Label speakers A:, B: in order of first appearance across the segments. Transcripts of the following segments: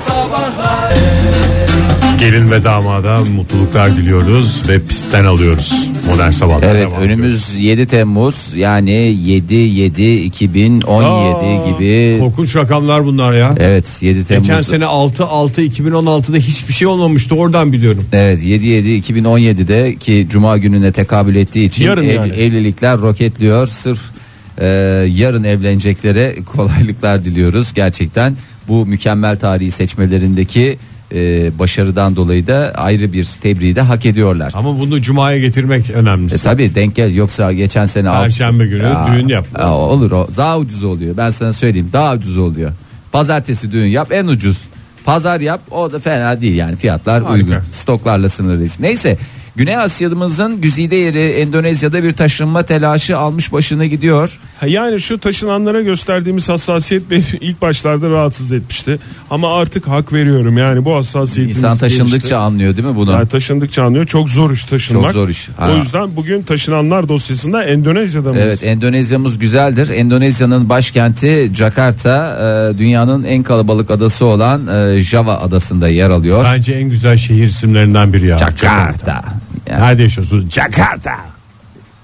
A: sabahlar
B: Gelin ve damada mutluluklar diliyoruz ve pistten alıyoruz. Modern sabahlar.
C: Evet
B: devam ediyor.
C: önümüz 7 Temmuz yani 7 7 2017
B: Aa,
C: gibi.
B: Korkunç rakamlar bunlar ya.
C: Evet 7 Temmuz.
B: Geçen sene 6 6 2016'da hiçbir şey olmamıştı oradan biliyorum.
C: Evet 7 7 2017'de ki cuma gününe tekabül ettiği için
B: Yarın
C: ev-
B: yani.
C: evlilikler roketliyor. Sırf e, yarın evleneceklere kolaylıklar diliyoruz gerçekten. Bu mükemmel tarihi seçmelerindeki e, başarıdan dolayı da ayrı bir tebriği de hak ediyorlar.
B: Ama bunu cumaya getirmek önemli.
C: E tabi denk gel yoksa geçen sene alt-
B: Perşembe günü düğün yapılır.
C: Aa, olur o daha ucuz oluyor ben sana söyleyeyim daha ucuz oluyor. Pazartesi düğün yap en ucuz. Pazar yap o da fena değil yani fiyatlar
B: Harika.
C: uygun. Stoklarla sınırlıyız. Neyse Güney Asya'mızın güzide yeri Endonezya'da bir taşınma telaşı almış başını gidiyor.
D: Ha, Yani şu taşınanlara gösterdiğimiz hassasiyet beni ilk başlarda rahatsız etmişti. Ama artık hak veriyorum yani bu hassasiyetimiz
C: İnsan taşındıkça
D: gelişti.
C: anlıyor değil mi bunu?
D: Yani taşındıkça anlıyor. Çok zor iş taşınmak.
C: Çok zor iş. Ha.
D: O yüzden bugün taşınanlar dosyasında Endonezya'da mıyız?
C: Evet Endonezya'mız güzeldir. Endonezya'nın başkenti Jakarta e, dünyanın en kalabalık adası olan e, Java adasında yer alıyor.
B: Bence en güzel şehir isimlerinden biri ya.
C: Jakarta. Yani
B: Nerede yaşıyorsunuz? Jakarta.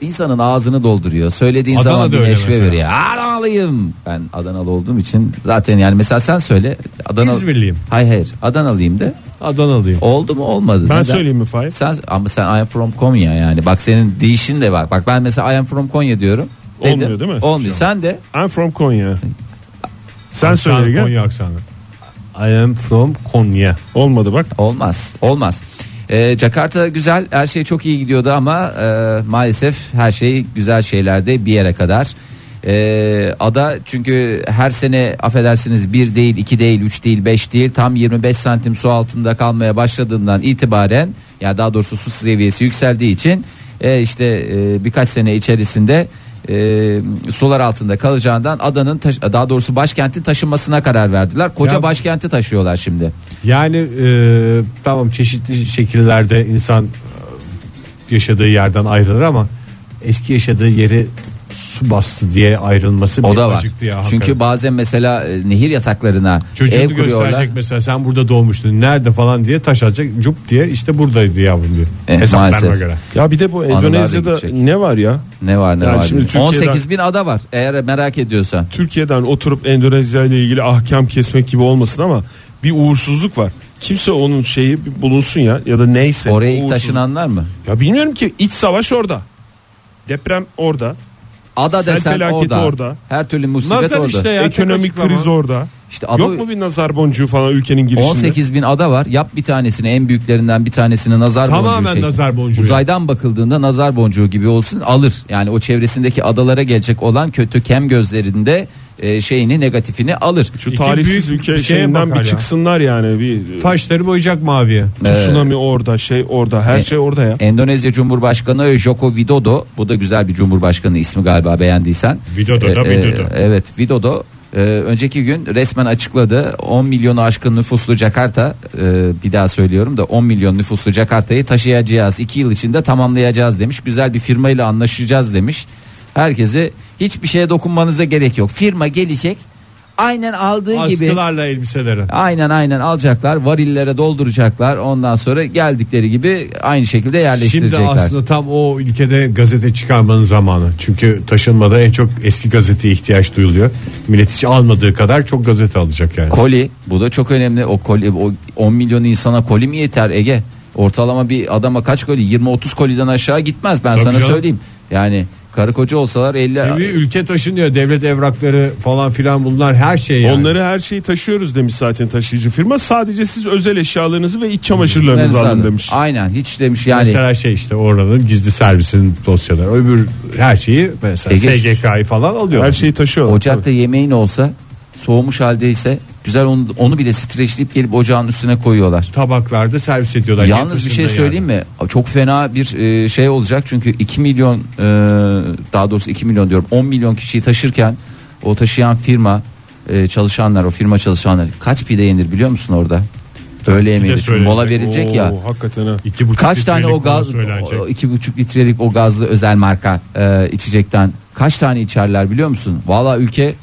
C: insanın ağzını dolduruyor. Söylediğin
B: Adana'da
C: zaman bir
B: öyle
C: neşve
B: mesela.
C: veriyor. Adanalıyım. Ben Adanalı olduğum için zaten yani mesela sen söyle. Adana...
B: İzmirliyim.
C: Hayır hayır Adanalıyım de.
B: Adanalıyım.
C: Oldu mu olmadı.
D: Ben söyleyeyim mi Fahir?
C: Sen, ama sen I am from Konya yani. Bak senin değişin de bak. Bak ben mesela I am from Konya diyorum. Dedim.
D: Olmuyor değil mi? şey
C: Olmuyor. Sen de
D: I'm from Konya. Sen
B: Aksanı,
D: söyle gel.
B: Konya aksanı. I am from Konya.
D: Olmadı bak.
C: Olmaz. Olmaz. Ee, Jakarta güzel, her şey çok iyi gidiyordu ama e, maalesef her şey güzel şeylerde bir yere kadar. Ee, ada çünkü her sene affedersiniz bir değil, iki değil, üç değil, beş değil tam 25 santim su altında kalmaya başladığından itibaren ya daha doğrusu su seviyesi yükseldiği için e, işte e, birkaç sene içerisinde e, sular altında kalacağından adanın taş- daha doğrusu başkentin taşınmasına karar verdiler. Koca
B: Ya-
C: başkenti taşıyorlar şimdi.
B: Yani e, tamam çeşitli şekillerde insan e, yaşadığı yerden ayrılır ama eski yaşadığı yeri su bastı diye ayrılması
C: O
B: beni
C: da var.
B: acıktı ya
C: Çünkü
B: hakikaten.
C: bazen mesela e, nehir yataklarına
B: Çocuğunu
C: ev kuruyorlar.
B: gösterecek mesela sen burada doğmuştun nerede falan diye taş atacak cup diye işte buradaydı yavrum diyor.
C: Eh,
B: Hesaplarına
C: maalesef.
B: göre.
D: Ya bir de bu
C: Anılar da
D: Endonezya'da
C: gidecek.
D: ne var ya?
C: Ne var ne
D: Yani
C: var.
D: şimdi
C: diye.
D: Türkiye'den-
C: 18 bin ada var eğer merak ediyorsan.
D: Türkiye'den oturup Endonezya ile ilgili ahkam kesmek gibi olmasın ama bir uğursuzluk var. Kimse onun şeyi bir bulunsun ya ya da neyse.
C: Oraya ilk
D: Uğursuzluk.
C: taşınanlar mı?
D: Ya bilmiyorum ki iç savaş orada. Deprem orada.
C: Ada
D: Sel
C: desen
D: felaketi
C: orada.
D: orada.
C: Her türlü musibet
B: Nazar
C: orada.
B: işte ya. tek
D: Ekonomik
B: açıklama.
D: kriz orada.
C: İşte ada-
D: Yok
B: şey
D: mu bir nazar boncuğu falan ülkenin girişinde?
C: 18 bin ada var. Yap bir tanesini en büyüklerinden bir tanesini nazar boncuğu.
B: Tamamen
C: şeklinde.
B: nazar boncuğu.
C: Uzaydan bakıldığında nazar boncuğu gibi olsun alır. Yani o çevresindeki adalara gelecek olan kötü kem gözlerinde e, şeyini negatifini alır.
D: Şu
B: İki
D: tarihsiz
B: büyük
D: ülke
B: şeye
D: şeyinden
B: bakar ya.
D: bir çıksınlar yani. Bir
B: Taşları boyayacak maviye.
D: tsunami orada, şey orada, her
C: E,
D: şey orada ya.
C: Endonezya Cumhurbaşkanı Joko Widodo bu da güzel bir cumhurbaşkanı ismi galiba beğendiysen.
B: Widodo da
C: E, e,
B: Widodo.
C: evet Widodo e, önceki gün resmen açıkladı 10 milyonu aşkın nüfuslu Jakarta e, bir daha söylüyorum da 10 milyon nüfuslu Jakarta'yı taşıyacağız 2 yıl içinde tamamlayacağız demiş güzel bir firmayla anlaşacağız demiş herkese hiçbir şeye dokunmanıza gerek yok firma gelecek aynen aldığı gibi
B: Askılarla elbiselere.
C: Aynen aynen alacaklar varillere dolduracaklar ondan sonra geldikleri gibi aynı şekilde
B: Şimdi
C: yerleştirecekler.
B: aslında tam o ülkede gazete çıkarmanın zamanı. Çünkü taşınmada en çok eski gazeteye ihtiyaç duyuluyor. Millet hiç almadığı kadar çok gazete alacak yani.
C: Koli bu da çok önemli o koli o 10 milyon insana koli mi yeter Ege? Ortalama bir adama kaç koli 20-30 koliden aşağı gitmez ben
B: Tabii
C: sana
B: canım.
C: söyleyeyim. Yani karı koca olsalar 50
B: bir ülke taşınıyor. Devlet evrakları falan filan bunlar her şey yani.
D: Onları her şeyi taşıyoruz demiş zaten taşıyıcı firma. Sadece siz özel eşyalarınızı ve iç çamaşırlarınızı alın demiş.
C: Aynen hiç demiş yani.
B: Mesela şey işte oranın gizli servisinin dosyaları. Öbür her şeyi mesela
C: Ege-
B: SGK'yı falan alıyor.
D: Her şeyi taşıyorlar.
C: Ocakta yemeğin olsa soğumuş haldeyse güzel onu, onu bile streçleyip gelip ocağın üstüne koyuyorlar.
B: tabaklarda servis ediyorlar.
C: Yalnız bir şey söyleyeyim mi? Çok fena bir e, şey olacak çünkü 2 milyon e, daha doğrusu 2 milyon diyorum 10 milyon kişiyi taşırken o taşıyan firma e, çalışanlar o firma çalışanları kaç pide yenir biliyor musun orada? Öğle yemeği de çünkü
B: söylenecek.
C: mola verilecek
D: Oo,
C: ya.
D: Hakikaten ha.
B: İki buçuk
C: Kaç tane
B: litrelik
C: o gaz
B: kola söylenecek.
C: o iki buçuk litrelik o gazlı özel marka e, içecekten kaç tane içerler biliyor musun? Valla ülke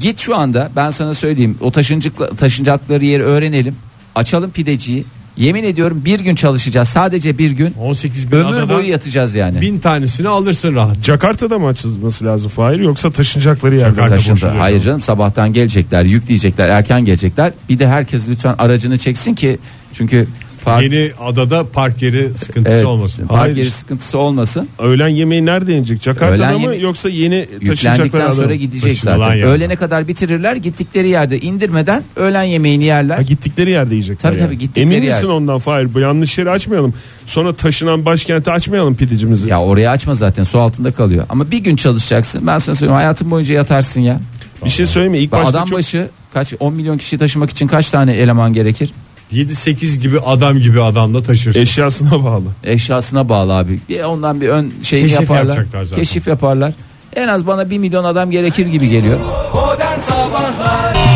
C: Git şu anda ben sana söyleyeyim o taşıncıkla, taşınacakları yeri öğrenelim. Açalım pideciyi. Yemin ediyorum bir gün çalışacağız sadece bir gün.
B: 18 bin
C: Ömür
B: adadan
C: boyu yatacağız yani.
B: bin tanesini alırsın rahat.
D: Jakarta'da mı açılması lazım Fahir yoksa taşınacakları yerde mi?
C: Taşındı.
D: Boşuna.
C: Hayır canım sabahtan gelecekler, yükleyecekler, erken gelecekler. Bir de herkes lütfen aracını çeksin ki çünkü park,
B: Yeni adada park yeri sıkıntısı
C: evet,
B: olmasın.
C: park
D: Hayır.
C: yeri sıkıntısı olmasın.
D: Öğlen yemeği nerede yenecek? Jakarta'da
C: Öğlen
D: mı
C: yemeği-
D: yoksa yeni taşınacaklar
C: Yüklendikten
D: adada
C: sonra
D: mı?
C: gidecek
B: Taşınılan
C: zaten.
B: yerden.
C: Öğlene kadar bitirirler, gittikleri yerde indirmeden öğlen yemeğini yerler.
D: Ha, gittikleri yerde yiyecekler.
C: Tabii,
D: yani.
C: tabii, gittikleri
D: Emin misin
C: yer.
D: ondan Fahir? Bu yanlış yeri açmayalım. Sonra taşınan başkenti açmayalım pidicimizi.
C: Ya oraya açma zaten su altında kalıyor. Ama bir gün çalışacaksın. Ben sana söyleyeyim hayatın boyunca yatarsın ya.
D: bir şey söyleyeyim mi? İlk
C: Bak,
D: başta
C: adam
D: çok
C: başı kaç 10 milyon kişi taşımak için kaç tane eleman gerekir?
B: 7-8 gibi adam gibi adamla taşırsın.
D: eşyasına bağlı.
C: Eşyasına bağlı abi. Bir ondan bir ön şey
B: Keşif
C: yaparlar.
B: yapacaklar zaten.
C: Keşif yaparlar. En az bana 1 milyon adam gerekir gibi geliyor.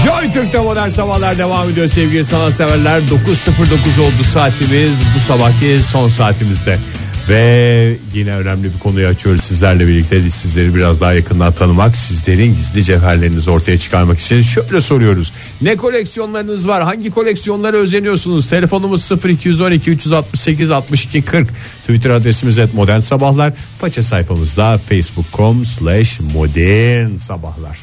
B: Joy Türk'te modern sabahlar devam ediyor sevgili sanatseverler. 9.09 oldu saatimiz bu sabahki son saatimizde. Ve yine önemli bir konuyu açıyoruz sizlerle birlikte. Sizleri biraz daha yakından tanımak, sizlerin gizli cevherlerinizi ortaya çıkarmak için şöyle soruyoruz. Ne koleksiyonlarınız var? Hangi koleksiyonlara özeniyorsunuz? Telefonumuz 0212 368 62 40. E, Twitter adresimiz et modern sabahlar. Faça sayfamızda facebook.com slash modern sabahlar.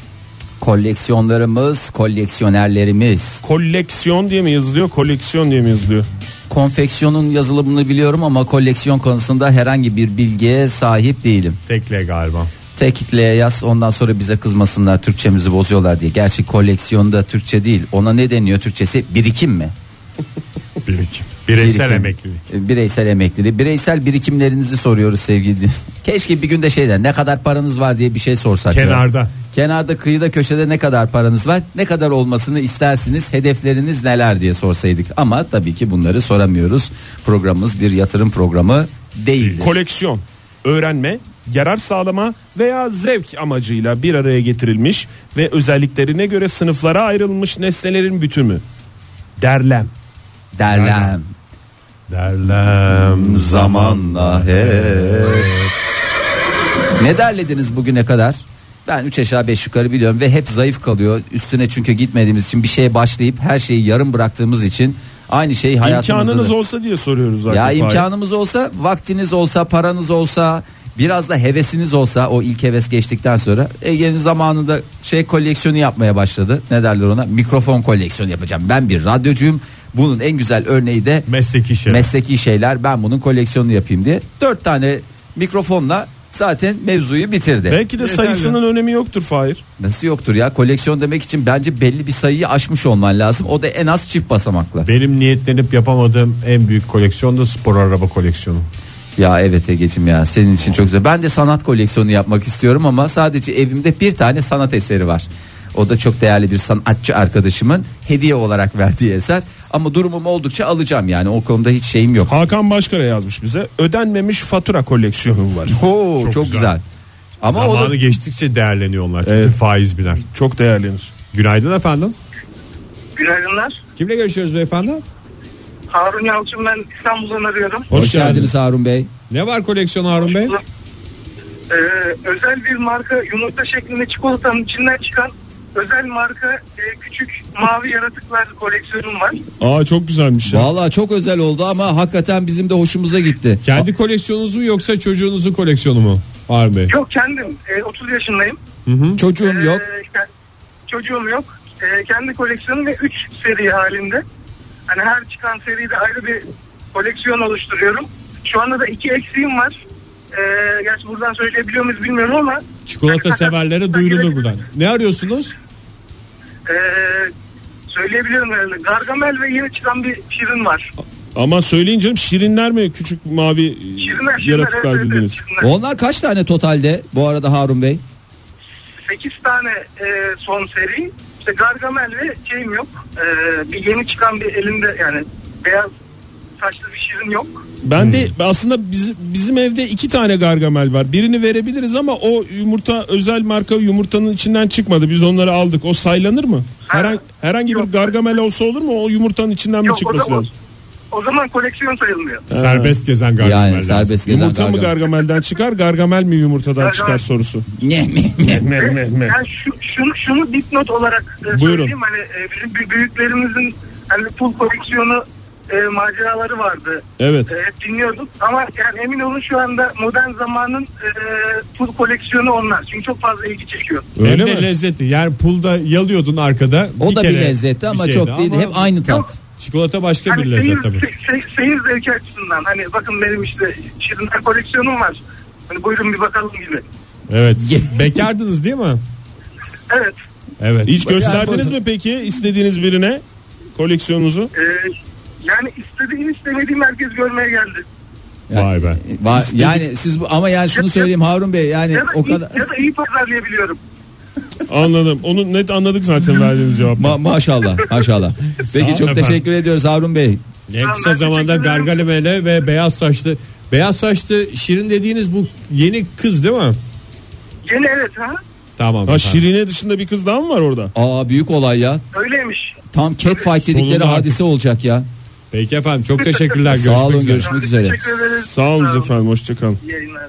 C: Koleksiyonlarımız, koleksiyonerlerimiz.
D: Koleksiyon diye mi yazılıyor? Koleksiyon diye mi yazılıyor?
C: Konfeksiyonun yazılımını biliyorum ama koleksiyon konusunda herhangi bir bilgiye sahip değilim.
B: Tekle galiba.
C: Tekitle'ye yaz ondan sonra bize kızmasınlar Türkçemizi bozuyorlar diye. Gerçi koleksiyonda Türkçe değil. Ona ne deniyor Türkçesi? Birikim mi?
B: Birikim. Bireysel
C: Birikim.
B: emeklilik.
C: E, Bireysel emeklilik. Bireysel birikimlerinizi soruyoruz sevgili. din- Keşke bir günde şeyden ne kadar paranız var diye bir şey sorsak. ya.
B: Kenarda.
C: Kenarda kıyıda köşede ne kadar paranız var? Ne kadar olmasını istersiniz? Hedefleriniz neler diye sorsaydık. Ama tabii ki bunları soramıyoruz. Programımız bir yatırım programı değildir.
D: Koleksiyon, öğrenme, yarar sağlama veya zevk amacıyla bir araya getirilmiş ve özelliklerine göre sınıflara ayrılmış nesnelerin bütünü. Derlem.
C: Derlem.
B: Derlem
C: zamanla Ne derlediniz bugüne kadar? Ben 3 aşağı 5 yukarı biliyorum ve hep zayıf kalıyor. Üstüne çünkü gitmediğimiz için bir şeye başlayıp her şeyi yarım bıraktığımız için aynı şey hayatımızda.
D: İmkanınız
C: da-
D: olsa diye soruyoruz zaten.
C: Ya
D: Fahir.
C: imkanımız olsa, vaktiniz olsa, paranız olsa, biraz da hevesiniz olsa o ilk heves geçtikten sonra Ege'nin zamanında şey koleksiyonu yapmaya başladı. Ne derler ona? Mikrofon koleksiyonu yapacağım. Ben bir radyocuyum. Bunun en güzel örneği de
B: Mesleki şey.
C: mesleki şeyler ben bunun koleksiyonunu yapayım diye dört tane mikrofonla zaten mevzuyu bitirdi.
D: Belki de sayısının önemi yoktur Fahir.
C: Nasıl yoktur ya koleksiyon demek için bence belli bir sayıyı aşmış olman lazım. O da en az çift basamakla.
B: Benim niyetlenip yapamadığım en büyük koleksiyon da spor araba koleksiyonu.
C: Ya evet Ege'cim ya senin için çok güzel. Ben de sanat koleksiyonu yapmak istiyorum ama sadece evimde bir tane sanat eseri var. O da çok değerli bir sanatçı arkadaşımın hediye olarak verdiği eser. Ama durumum oldukça alacağım yani o konuda hiç şeyim yok.
D: Hakan Başkara yazmış bize. Ödenmemiş fatura koleksiyonum var.
C: Oo, çok,
B: Çok
C: güzel.
B: güzel.
C: Ama o da-
B: Zamanı geçtikçe değerleniyor onlar. Çünkü
D: Evet.
B: faiz biner.
D: Çok değerlenir.
B: Günaydın efendim.
A: Günaydınlar.
B: Kimle görüşüyoruz beyefendi?
A: Harun Yalçın ben İstanbul'dan arıyorum.
C: Hoş, geldiniz Harun Bey.
B: Ne var koleksiyon Harun Bey?
A: Ee, özel bir marka yumurta şeklinde çikolatanın içinden çıkan özel marka e, küçük mavi yaratıklar koleksiyonum var.
D: Aa çok güzelmiş ya.
C: Vallahi çok özel oldu ama hakikaten bizim de hoşumuza gitti.
B: Kendi koleksiyonunuz mu yoksa çocuğunuzun koleksiyonu mu Harun Bey?
A: Yok kendim e, 30 yaşındayım.
C: Çocuğum
A: Ee,
C: yok.
A: ke- çocuğum yok. Ee, kendi koleksiyonum ve 3 seri halinde. Hani her çıkan seride ayrı bir koleksiyon oluşturuyorum. Şu anda da iki eksiğim var. Ee, gerçi buradan söyleyebiliyor muyuz bilmiyorum ama
B: Çikolata severlere duyurulur buradan. Ne arıyorsunuz?
A: Ee, söyleyebilirim herhalde. Gargamel ve yeni çıkan bir şirin var.
D: Ama söyleyin canım şirinler mi küçük mavi e,
A: Şirinler, şirinler,
D: yaratıklar
A: evet, evet,
D: dediniz.
A: şirinler.
C: Onlar kaç tane totalde bu arada Harun Bey?
A: 8 tane e, son seri. İşte Gargamel ve şeyim yok. Ee, bir yeni çıkan bir elinde yani beyaz saçlı bir şirin yok.
D: Ben
C: Hmm.
D: de aslında biz, bizim evde iki tane gargamel var. Birini verebiliriz ama o yumurta özel marka yumurtanın içinden çıkmadı. Biz onları aldık. O saylanır mı?
A: Ha.
D: Herhangi, herhangi bir
A: Yok.
D: gargamel olsa olur mu? O yumurtanın içinden mi
A: yok o da
D: çıkması
A: o,
D: lazım?
A: O zaman koleksiyon sayılmıyor.
B: Serbest gezen gargamel.
C: Yani serbest gezen
D: Yumurta mı
C: gargamel.
D: gargamelden çıkar, gargamel mi yumurtadan
A: Gargamel.
D: çıkar sorusu.
C: Ne mi? Ne?
D: Meh meh meh.
A: Yani şu, şunu, şunu dipnot olarak e,
D: Buyurun.
A: söyleyeyim. Hani e, bizim bü- büyüklerimizin hani pul koleksiyonu e, maceraları vardı.
D: Evet.
A: E, hep dinliyorduk. Ama yani emin olun şu anda modern zamanın e, pul koleksiyonu onlar. Çünkü çok fazla ilgi çekiyor.
B: Hem
D: Öyle
B: de
D: mi?
B: lezzeti. Yani pulda yalıyordun arkada.
C: O da bir
B: kere
C: lezzetti ama
B: şeydi
C: çok değil.
B: ama
C: Hep aynı tat.
B: Çikolata başka bir
A: Hani
B: lezzet
A: seyir,
B: tabii.
A: se- se- seyir zevki açısından hani bakın benim işte şirinler koleksiyonum var. Hani buyurun bir bakalım gibi.
B: Evet. Bekardınız değil mi?
A: Evet.
B: Evet.
D: Hiç gösterdiniz
C: Yani-
D: mi peki istediğiniz birine koleksiyonunuzu?
A: e, yani istediğim istemediğim herkes görmeye geldi.
B: Vay be.
C: Va- yani siz bu ama yani şunu söyleyeyim Harun Bey
B: E,
C: yani
A: Ya da,
C: o
A: iyi,
C: kadar
A: ya da iyi pazarlayabiliyorum.
D: Anladım. Onu net anladık zaten verdiğiniz cevap.
C: Ma- maşallah maşallah.
B: olun
C: Peki çok
B: efendim.
C: teşekkür ediyoruz Harun Bey.
B: En
A: Ben
B: kısa
A: teşekkür
B: zamanda
A: ederim.
B: Gargalemele ve beyaz saçlı beyaz saçlı Şirin dediğiniz bu yeni kız değil mi?
A: Yeni evet ha.
B: Tamam.
D: Ha,
B: efendim.
D: Şirine dışında bir kız daha mı var orada?
C: Aa büyük olay ya.
A: Öyleymiş.
C: Tam catfight dedikleri
B: Sonunda
C: hadise olacak ya.
B: Peki efendim çok teşekkürler.
C: Sağ olun,
B: üzere.
C: görüşmek Görüşmek üzere.
A: Teşekkür ederiz.
D: Sağ olun efendim. Hoşçakalın.
A: İyi yayınlar.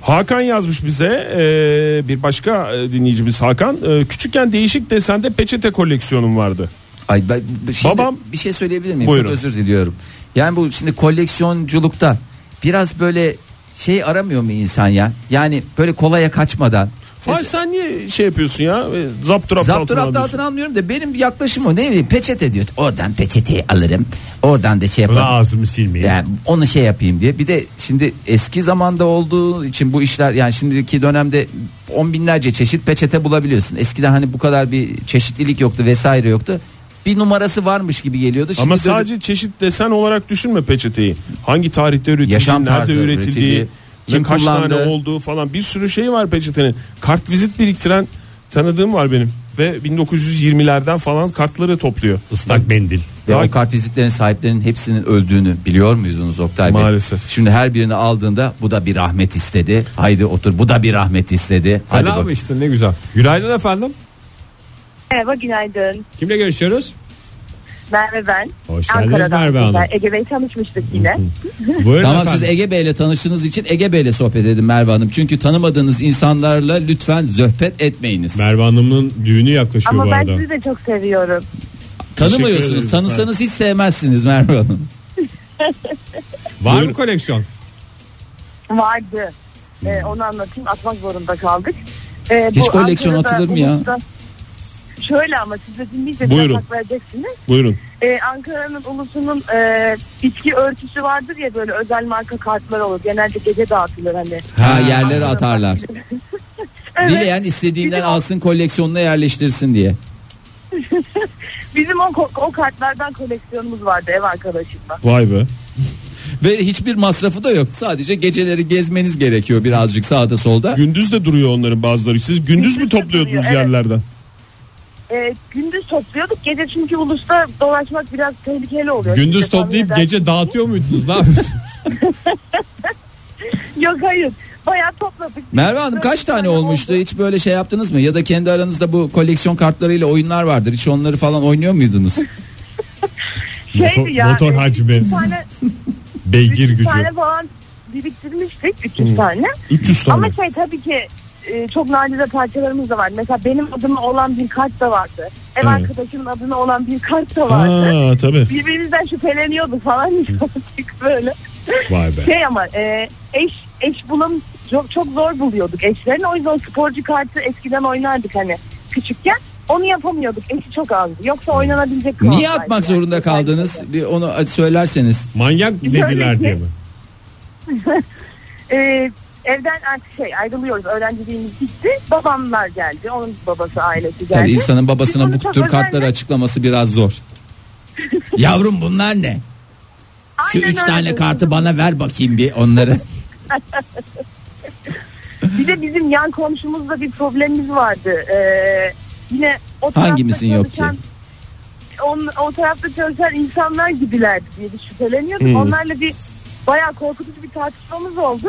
D: Hakan yazmış bize e, bir başka e, dinleyicimiz Hakan E, küçükken değişik desende peçete koleksiyonum vardı.
C: Ay ben b- şimdi
D: Babam-
C: bir şey söyleyebilir miyim?
D: Buyurun.
C: Çok özür diliyorum. Yani bu şimdi koleksiyonculukta biraz böyle şey aramıyor mu insan ya? Yani böyle kolaya kaçmadan.
D: Fahir sen niye şey yapıyorsun ya E, zaptur aptal
C: Zaptur
D: altına alıyorsun.
C: altına almıyorum da benim yaklaşım o ne bileyim peçete diyor. Oradan peçeteyi alırım. Oradan da şey
B: Buna
C: yaparım.
B: ağzımı silmeyin.
C: Yani onu şey yapayım diye. Bir de şimdi eski zamanda olduğu için bu işler yani şimdiki dönemde on binlerce çeşit peçete bulabiliyorsun. Eskiden hani bu kadar bir çeşitlilik yoktu vesaire yoktu. Bir numarası varmış gibi geliyordu. Şimdi
D: Ama
C: böyle
D: sadece çeşit desen olarak düşünme peçeteyi. Hangi tarihte üretildiği,
C: Yaşam
D: nerede
C: tarzı, üretildiği,
D: üretildiği,
C: kim
D: kim kaç tane
C: kullandı.
D: olduğu falan bir sürü şey var peçetenin. Kart vizit biriktiren tanıdığım var benim ve 1920'lerden falan kartları topluyor.
B: Islak mendil.
C: Ve
D: Daha-
C: o kartvizitlerin sahiplerinin hepsinin öldüğünü biliyor muydunuz Oktay Bey?
D: Maalesef.
C: Şimdi her birini aldığında bu da bir rahmet istedi. Haydi otur bu da bir rahmet istedi. Hadi
B: Fena
C: bak.
B: mı işte ne güzel. Günaydın efendim.
E: Merhaba günaydın.
B: Kimle görüşüyoruz?
E: Merve ben.
B: Hoş geldiniz Merve
E: sizler.
B: Hanım.
E: Ege Bey tanışmıştık yine.
B: Buyurun
C: Tamam
B: efendim.
C: siz Ege Bey ile tanıştığınız için Ege Bey ile sohbet edin Merve Hanım. Çünkü tanımadığınız insanlarla lütfen zöhbet etmeyiniz.
B: Merve Hanım'ın düğünü yaklaşıyor
E: Ama
B: bu
E: ben
B: arada.
E: sizi de çok seviyorum.
B: Teşekkür
C: Tanımıyorsunuz.
B: ederiz.
C: Tanısanız hiç sevmezsiniz Merve Hanım.
B: Var
D: Buyurun.
B: mı koleksiyon?
E: Vardı. Ee, onu anlatayım atmak zorunda kaldık. Ee,
C: Hiç koleksiyon atılır mı ya?
E: Ulus'ta- Şöyle ama siz de dinleyince
D: Buyurun.
E: biraz hak vereceksiniz.
D: Buyurun.
E: Ee, Ankara'nın ulusunun e, içki örtüsü vardır ya böyle özel marka kartlar olur. Genelde gece dağıtılır hani.
C: Ha yerlere atarlar.
E: Evet.
C: Dileyen istediğinden
E: Bir de-
C: alsın koleksiyonuna yerleştirsin diye.
E: Bizim o, o kartlardan koleksiyonumuz vardı ev arkadaşımla.
D: Vay be.
C: Ve hiçbir masrafı da yok. Sadece geceleri gezmeniz gerekiyor birazcık sağda solda.
D: Gündüz de duruyor onların bazıları. Siz gündüz mü
E: Gündüz de
D: topluyordunuz
E: duruyor, evet.
D: yerlerden?
E: Ee, gündüz topluyorduk. Gece çünkü ulusta dolaşmak biraz tehlikeli oluyor.
B: Gündüz
E: Kimse tahmin
B: toplayıp
E: eder.
B: gece dağıtıyor muydunuz? Ne yapıyorsunuz?
E: Yok hayır. Bayağı topladık.
C: Merve Hanım kaç
E: Dört
C: tane olmuştu?
E: oldu.
C: Hiç böyle şey yaptınız mı? Ya da kendi aranızda bu koleksiyon kartlarıyla oyunlar vardır. Hiç onları falan oynuyor muydunuz?
E: Şeydi
B: Motor-
E: ya,
B: motor
E: e,
B: hacmi.
E: üç tane,
B: Beygir
E: üç
B: gücü.
E: tane falan biriktirmiştik. 300 tane.
D: 300 tane.
E: Ama şey tabii ki e, çok nadide parçalarımız da var. Mesela benim adıma olan bir kart da vardı. Ev
D: Evet.
E: arkadaşımın adına olan bir kart da vardı.
D: Aa tabii.
E: Birbirimizden şüpheleniyorduk falan yapıyorduk böyle.
B: Vay be.
E: Şey ama e, eş eş bulam çok, çok zor buluyorduk eşlerini. O yüzden sporcu kartı eskiden oynardık hani küçükken. Onu yapamıyorduk. Eşi çok azdı. Yoksa oynanabilecek
C: Niye
E: kıvamdaydı
C: atmak
E: yani.
C: zorunda kaldınız? Bir onu söylerseniz.
B: Manyak dediler diye mi?
E: E, evden artık şey ayrılıyoruz. Öğrenciliğimiz bitti. Babamlar geldi. Onun babası ailesi geldi.
C: Tabii insanın babasına
E: Biz
C: bu
E: onu çok
C: tür kartları
E: özenle-
C: açıklaması biraz zor. Yavrum bunlar ne? Şu
E: Aynen
C: üç
E: öyle
C: tane
E: dedim.
C: kartı bana ver bakayım bir onları.
E: Bir de bizim yan komşumuzda bir problemimiz vardı. Ee, yine o tarafta
C: Hangimizin yok ki?
E: çalışan- On, o tarafta çalışan insanlar gibilerdi diye bir şüpheleniyorduk.
D: Hmm.
E: Onlarla bir bayağı korkutucu bir tartışmamız oldu.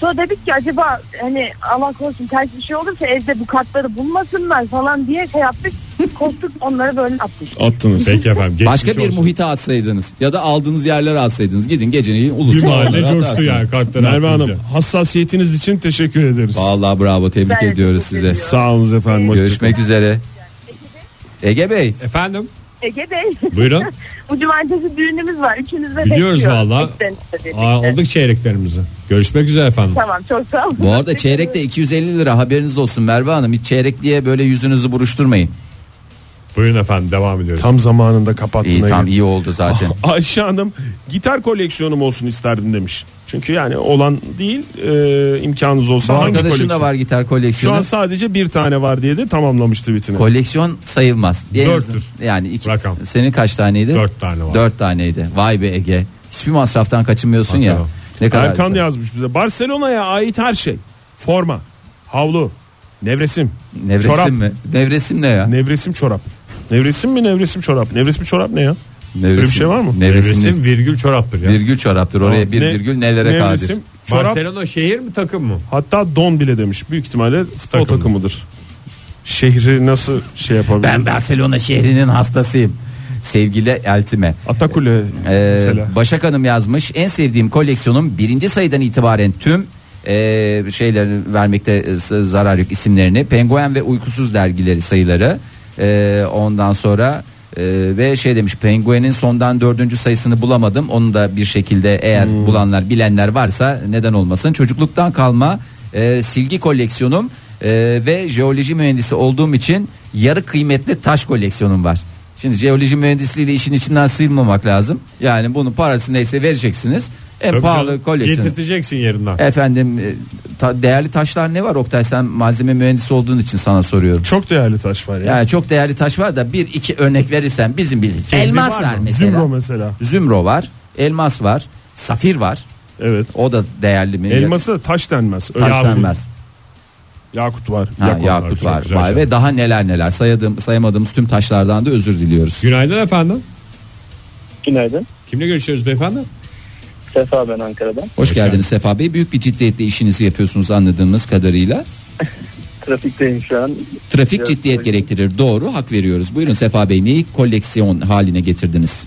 E: Sonra dedik ki acaba hani Allah korusun ters bir şey olursa evde bu kartları bulmasınlar falan diye şey yaptık. Korktuk onları böyle attık.
D: Attınız.
B: Peki efendim. geçmiş
C: Başka bir
B: olsun.
C: muhite atsaydınız ya da aldığınız yerlere atsaydınız. Gidin geceliğin
B: Bir
C: ulusal
B: mahalle
C: olarak
B: coştu
C: atarsınız.
B: yani kartları.
D: Merve Hanım
B: atınca.
D: hassasiyetiniz için teşekkür ederiz.
C: Vallahi bravo tebrik
E: Ben de
C: ediyoruz
E: teşekkür
C: size.
E: ediyorum.
D: Sağ olun efendim. hoşça kalın.
C: Görüşmek üzere. Ege Bey
B: Efendim
E: Ege Bey.
B: buyurun.
E: bu cumartesi düğünümüz var. Üçünüz de
B: Biliyoruz
E: bekliyor.
B: valla.
E: Beklenirse birlikte.
B: Aa, Aldık çeyreklerimizi. Görüşmek üzere efendim.
E: Tamam çok sağ olun.
C: bu arada çeyrek de 250 lira haberiniz olsun Merve Hanım. Hiç çeyrek diye böyle yüzünüzü buruşturmayın.
B: Buyurun efendim devam ediyoruz.
D: Tam zamanında kapattın.
C: İyi
D: Ege.
C: tam iyi oldu zaten.
D: Ayşe Hanım gitar koleksiyonum olsun isterdim demiş. Çünkü yani olan değil e, imkanınız olsa hangi
C: Arkadaşın
D: koleksiyon?
C: da var gitar
D: Şu an
C: koleksiyonu.
D: sadece bir tane var diye de tamamlamıştı bitini.
C: Koleksiyon sayılmaz. En
B: Dörttür.
C: azın- Yani iki,
B: Rakam.
C: senin kaç taneydi?
B: Dört tane var.
C: Dört taneydi. Vay be Ege. Hiçbir masraftan kaçınmıyorsun ya.
B: Tamam.
C: Ne kadar
D: Erkan
C: güzel.
D: yazmış bize. Barcelona'ya ait her şey. Forma, havlu, nevresim,
C: Nevresim
D: çorap.
C: mi? Nevresim ne ya?
D: Nevresim çorap. Nevresim mi nevresim çorap? Nevresim çorap ne ya?
C: Nevresim.
D: Böyle bir şey var mı?
C: Nevresim,
B: Nevresim virgül çoraptır ya.
C: virgül çoraptır. Oraya bir
D: Ne-
C: virgül nelere kadir.
D: nevresim, Çorap
B: Barcelona şehir mi takım mı?
D: hatta don bile demiş. Büyük ihtimalle futbol
B: Takım.
D: takımıdır. Şehri nasıl şey yapabilir?
C: Ben Barcelona şehrinin hastasıyım. Sevgili Eltime.
D: Atakule
C: Ee,
D: mesela.
C: Başak Hanım yazmış. En sevdiğim koleksiyonum birinci sayıdan itibaren tüm e, şeyleri vermekte e, s- zarar yok isimlerini. Penguen ve Uykusuz dergileri sayıları. E, ondan sonra e, ve şey demiş Penguen'in sondan dördüncü sayısını bulamadım. Onu da bir şekilde eğer bulanlar bilenler varsa neden olmasın. Çocukluktan kalma e, silgi koleksiyonum e, ve jeoloji mühendisi olduğum için yarı kıymetli taş koleksiyonum var. Şimdi jeoloji mühendisliğiyle işin içinden sıyrılmamak lazım. Yani bunun parası neyse vereceksiniz. En
B: Tabii
C: pahalı
B: canım,
C: koleksiyon.
B: Getirteceksin yerinden.
C: Efendim e, ta- değerli taşlar ne var Oktay sen malzeme mühendisi olduğun için sana soruyorum.
D: Çok değerli taş var ya.
C: Yani çok değerli taş var da bir iki örnek verirsen bizim bildiğimiz. Elmas var, mesela.
D: Zümro mesela.
C: Zümro var. Elmas var. Safir var.
D: Evet.
C: O da değerli mi?
D: Elması taş denmez. Öyle
C: taş
D: yakut-
C: denmez.
D: Yakut var.
C: Ha,
D: yakut.
C: yakut
B: çok
C: var.
B: güzel
C: Vay
B: şey.
C: ve daha neler neler sayadım, sayamadığımız tüm taşlardan da özür diliyoruz.
B: Günaydın efendim.
F: Günaydın.
B: Kimle görüşüyoruz beyefendi?
F: Sefa ben Ankara'dan.
C: Hoş, geldiniz Sefa Bey. Büyük bir ciddiyetle işinizi yapıyorsunuz anladığımız kadarıyla.
F: Trafikteyim şu an.
C: Trafik
F: Evet,
C: ciddiyet
F: buyurun.
C: gerektirir. Doğru hak veriyoruz. Buyurun Sefa Bey neyi koleksiyon haline getirdiniz?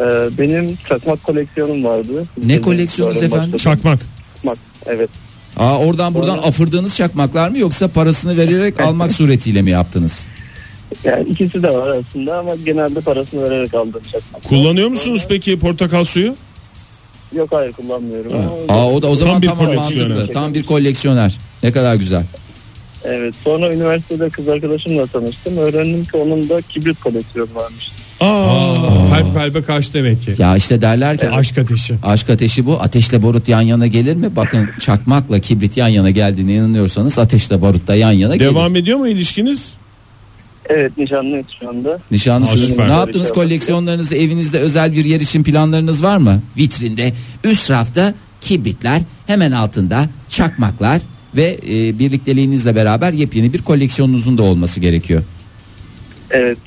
F: Ee, benim çakmak koleksiyonum vardı.
C: Ne koleksiyonunuz
F: Yarın
C: efendim?
F: başladım.
D: Çakmak.
F: Çakmak. Evet.
C: Aa, oradan buradan
F: Doğru.
C: afırdığınız çakmaklar mı yoksa parasını vererek almak suretiyle mi yaptınız?
F: Yani ikisi de var aslında ama genelde parasını vererek aldığım çakmak.
D: Kullanıyor musunuz peki portakal suyu?
F: Yok hayır kullanmıyorum. Ama
C: Aa, o da o zaman
D: bir
C: tamam
D: koleksiyoner.
C: mantıklı. Tam bir koleksiyoner. Ne kadar güzel.
F: Evet. Sonra üniversitede kız arkadaşımla tanıştım. Öğrendim ki onun da kibrit koleksiyonu varmış.
B: Aa, kalp kalbe karşı demek ki.
C: Ya işte derler
D: E,
C: ki
B: Aşk ateşi.
C: Aşk ateşi bu. Ateşle barut yan yana gelir mi? Bakın çakmakla kibrit yan yana geldiğine inanıyorsanız ateşle barut da yan yana gelir.
D: Devam ediyor mu ilişkiniz?
F: Evet nişanlıyız şu anda.
C: Nişanlısınız.
B: Aşk
C: Ne
B: var.
C: yaptınız? Koleksiyonlarınızı evinizde özel bir yer için planlarınız var mı? Vitrinde üst rafta kibritler, hemen altında çakmaklar ve e, birlikteliğinizle beraber yepyeni bir koleksiyonunuzun da olması gerekiyor.
F: Evet.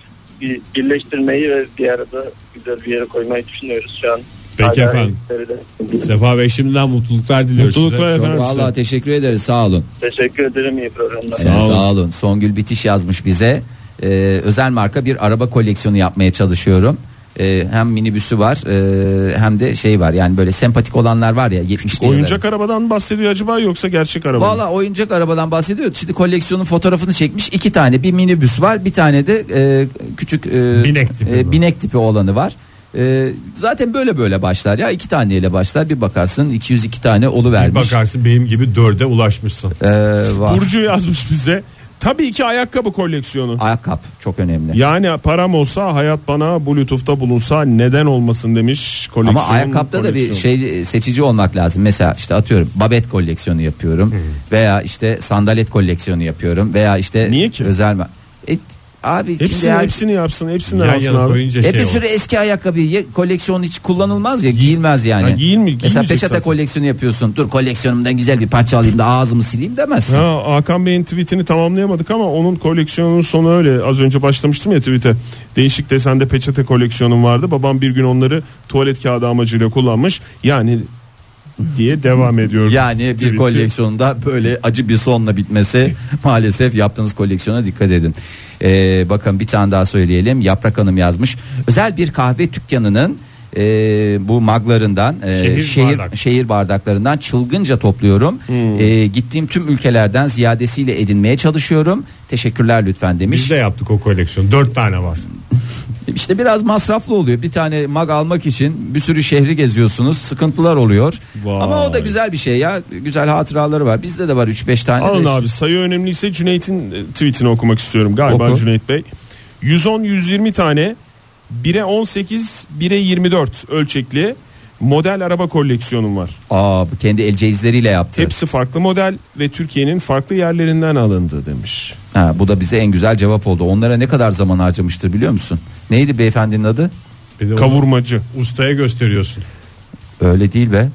F: Bir birleştirmeyi ve bir arada güzel bir yere koymayı düşünüyoruz şu an.
B: Peki
F: Hala
B: efendim.
F: evlerde.
B: Sefa Bey şimdiden mutluluklar diliyoruz
D: Mutluluklar
B: size.
D: efendim.
C: Çok vallahi teşekkür ederiz. Sağ olun.
F: Teşekkür ederim iyi programlar.
C: Sağ,
D: olun.
C: olun. Songül Bitiş yazmış bize. Ee, özel marka bir araba koleksiyonu yapmaya çalışıyorum. Ee, hem minibüsü var ee, hem de şey var yani böyle sempatik olanlar var ya 70
D: Oyuncak arabadan bahsediyor acaba yoksa gerçek araba? mı?
C: Valla oyuncak arabadan bahsediyor. Şimdi koleksiyonun fotoğrafını çekmiş. iki tane bir minibüs var. Bir tane de e, küçük e,
B: Binek tipi var.
C: binek tipi olanı var. E, zaten böyle böyle başlar ya. iki taneyle başlar. Bir bakarsın 202 tane
B: Bir
C: oluvermiş.
B: bakarsın benim gibi dörde ulaşmışsın.
C: Ee, var.
D: Burcu yazmış bize. Tabii ki ayakkabı koleksiyonu.
C: Ayakkabı çok önemli.
D: Yani param olsa hayat bana Bluetooth'ta bulunsa neden olmasın demiş koleksiyon.
C: Ama ayakkabıda da bir
D: koleksiyon.
C: şey seçici olmak lazım. Mesela işte atıyorum babet koleksiyonu yapıyorum veya işte sandalet koleksiyonu yapıyorum veya işte
D: Niye ki?
C: özel ma- E, abi
D: Hepsini
C: şimdi her-
D: hepsini yapsın hepsini
B: Yan
D: alsın
B: yana
D: abi.
B: koyunca
C: e
B: şey
C: bir
B: olur.
C: sürü eski ayakkabı ye- koleksiyon hiç kullanılmaz ya giyilmez yani.
D: Ha, giyilmi-
C: Mesela
D: giymeyecek
C: peçete
D: zaten.
C: koleksiyonu yapıyorsun. Dur koleksiyonumdan güzel bir parça alayım da ağzımı sileyim demezsin.
D: Ha, Hakan Bey'in tweetini tamamlayamadık ama onun koleksiyonunun sonu öyle. Az önce başlamıştım ya tweete. Değişik desende peçete koleksiyonum vardı. Babam bir gün onları tuvalet kağıdı amacıyla kullanmış. Yani diye devam ediyor.
C: Yani bir
D: Tweet'i.
C: koleksiyonda böyle acı bir sonla bitmesi maalesef yaptığınız koleksiyona dikkat edin. Ee, bakın bir tane daha söyleyelim. Yaprak Hanım yazmış. Özel bir kahve dükkanının e, bu maglarından e,
B: Şehir
C: şehir, şehir,
B: bardak.
C: bardaklarından çılgınca topluyorum. E, gittiğim tüm ülkelerden ziyadesiyle edinmeye çalışıyorum. Teşekkürler lütfen demiş.
B: Biz de yaptık o koleksiyonu. Dört tane var.
C: İşte biraz masraflı oluyor. Bir tane mag almak için bir sürü şehri geziyorsunuz. Sıkıntılar oluyor.
D: Vay.
C: Ama o da güzel bir şey ya. Güzel hatıraları var. Bizde de var 3-5 tane.
D: Alın
C: de.
D: abi sayı önemliyse Cüneyt'in e, tweetini okumak istiyorum galiba
C: Oku.
D: Cüneyt Bey. 110-120 tane 1'e 18 1'e 24 ölçekli model araba koleksiyonum var.
C: Aa bu kendi el ceyizleriyle yaptı.
D: Hepsi farklı model ve Türkiye'nin farklı yerlerinden alındı demiş.
C: Ha, bu da bize en güzel cevap oldu. Onlara ne kadar zaman harcamıştır biliyor musun? Neydi beyefendinin adı?
B: Bir de onu
D: Kavurmacı.
B: ustaya gösteriyorsun.
C: Öyle değil be.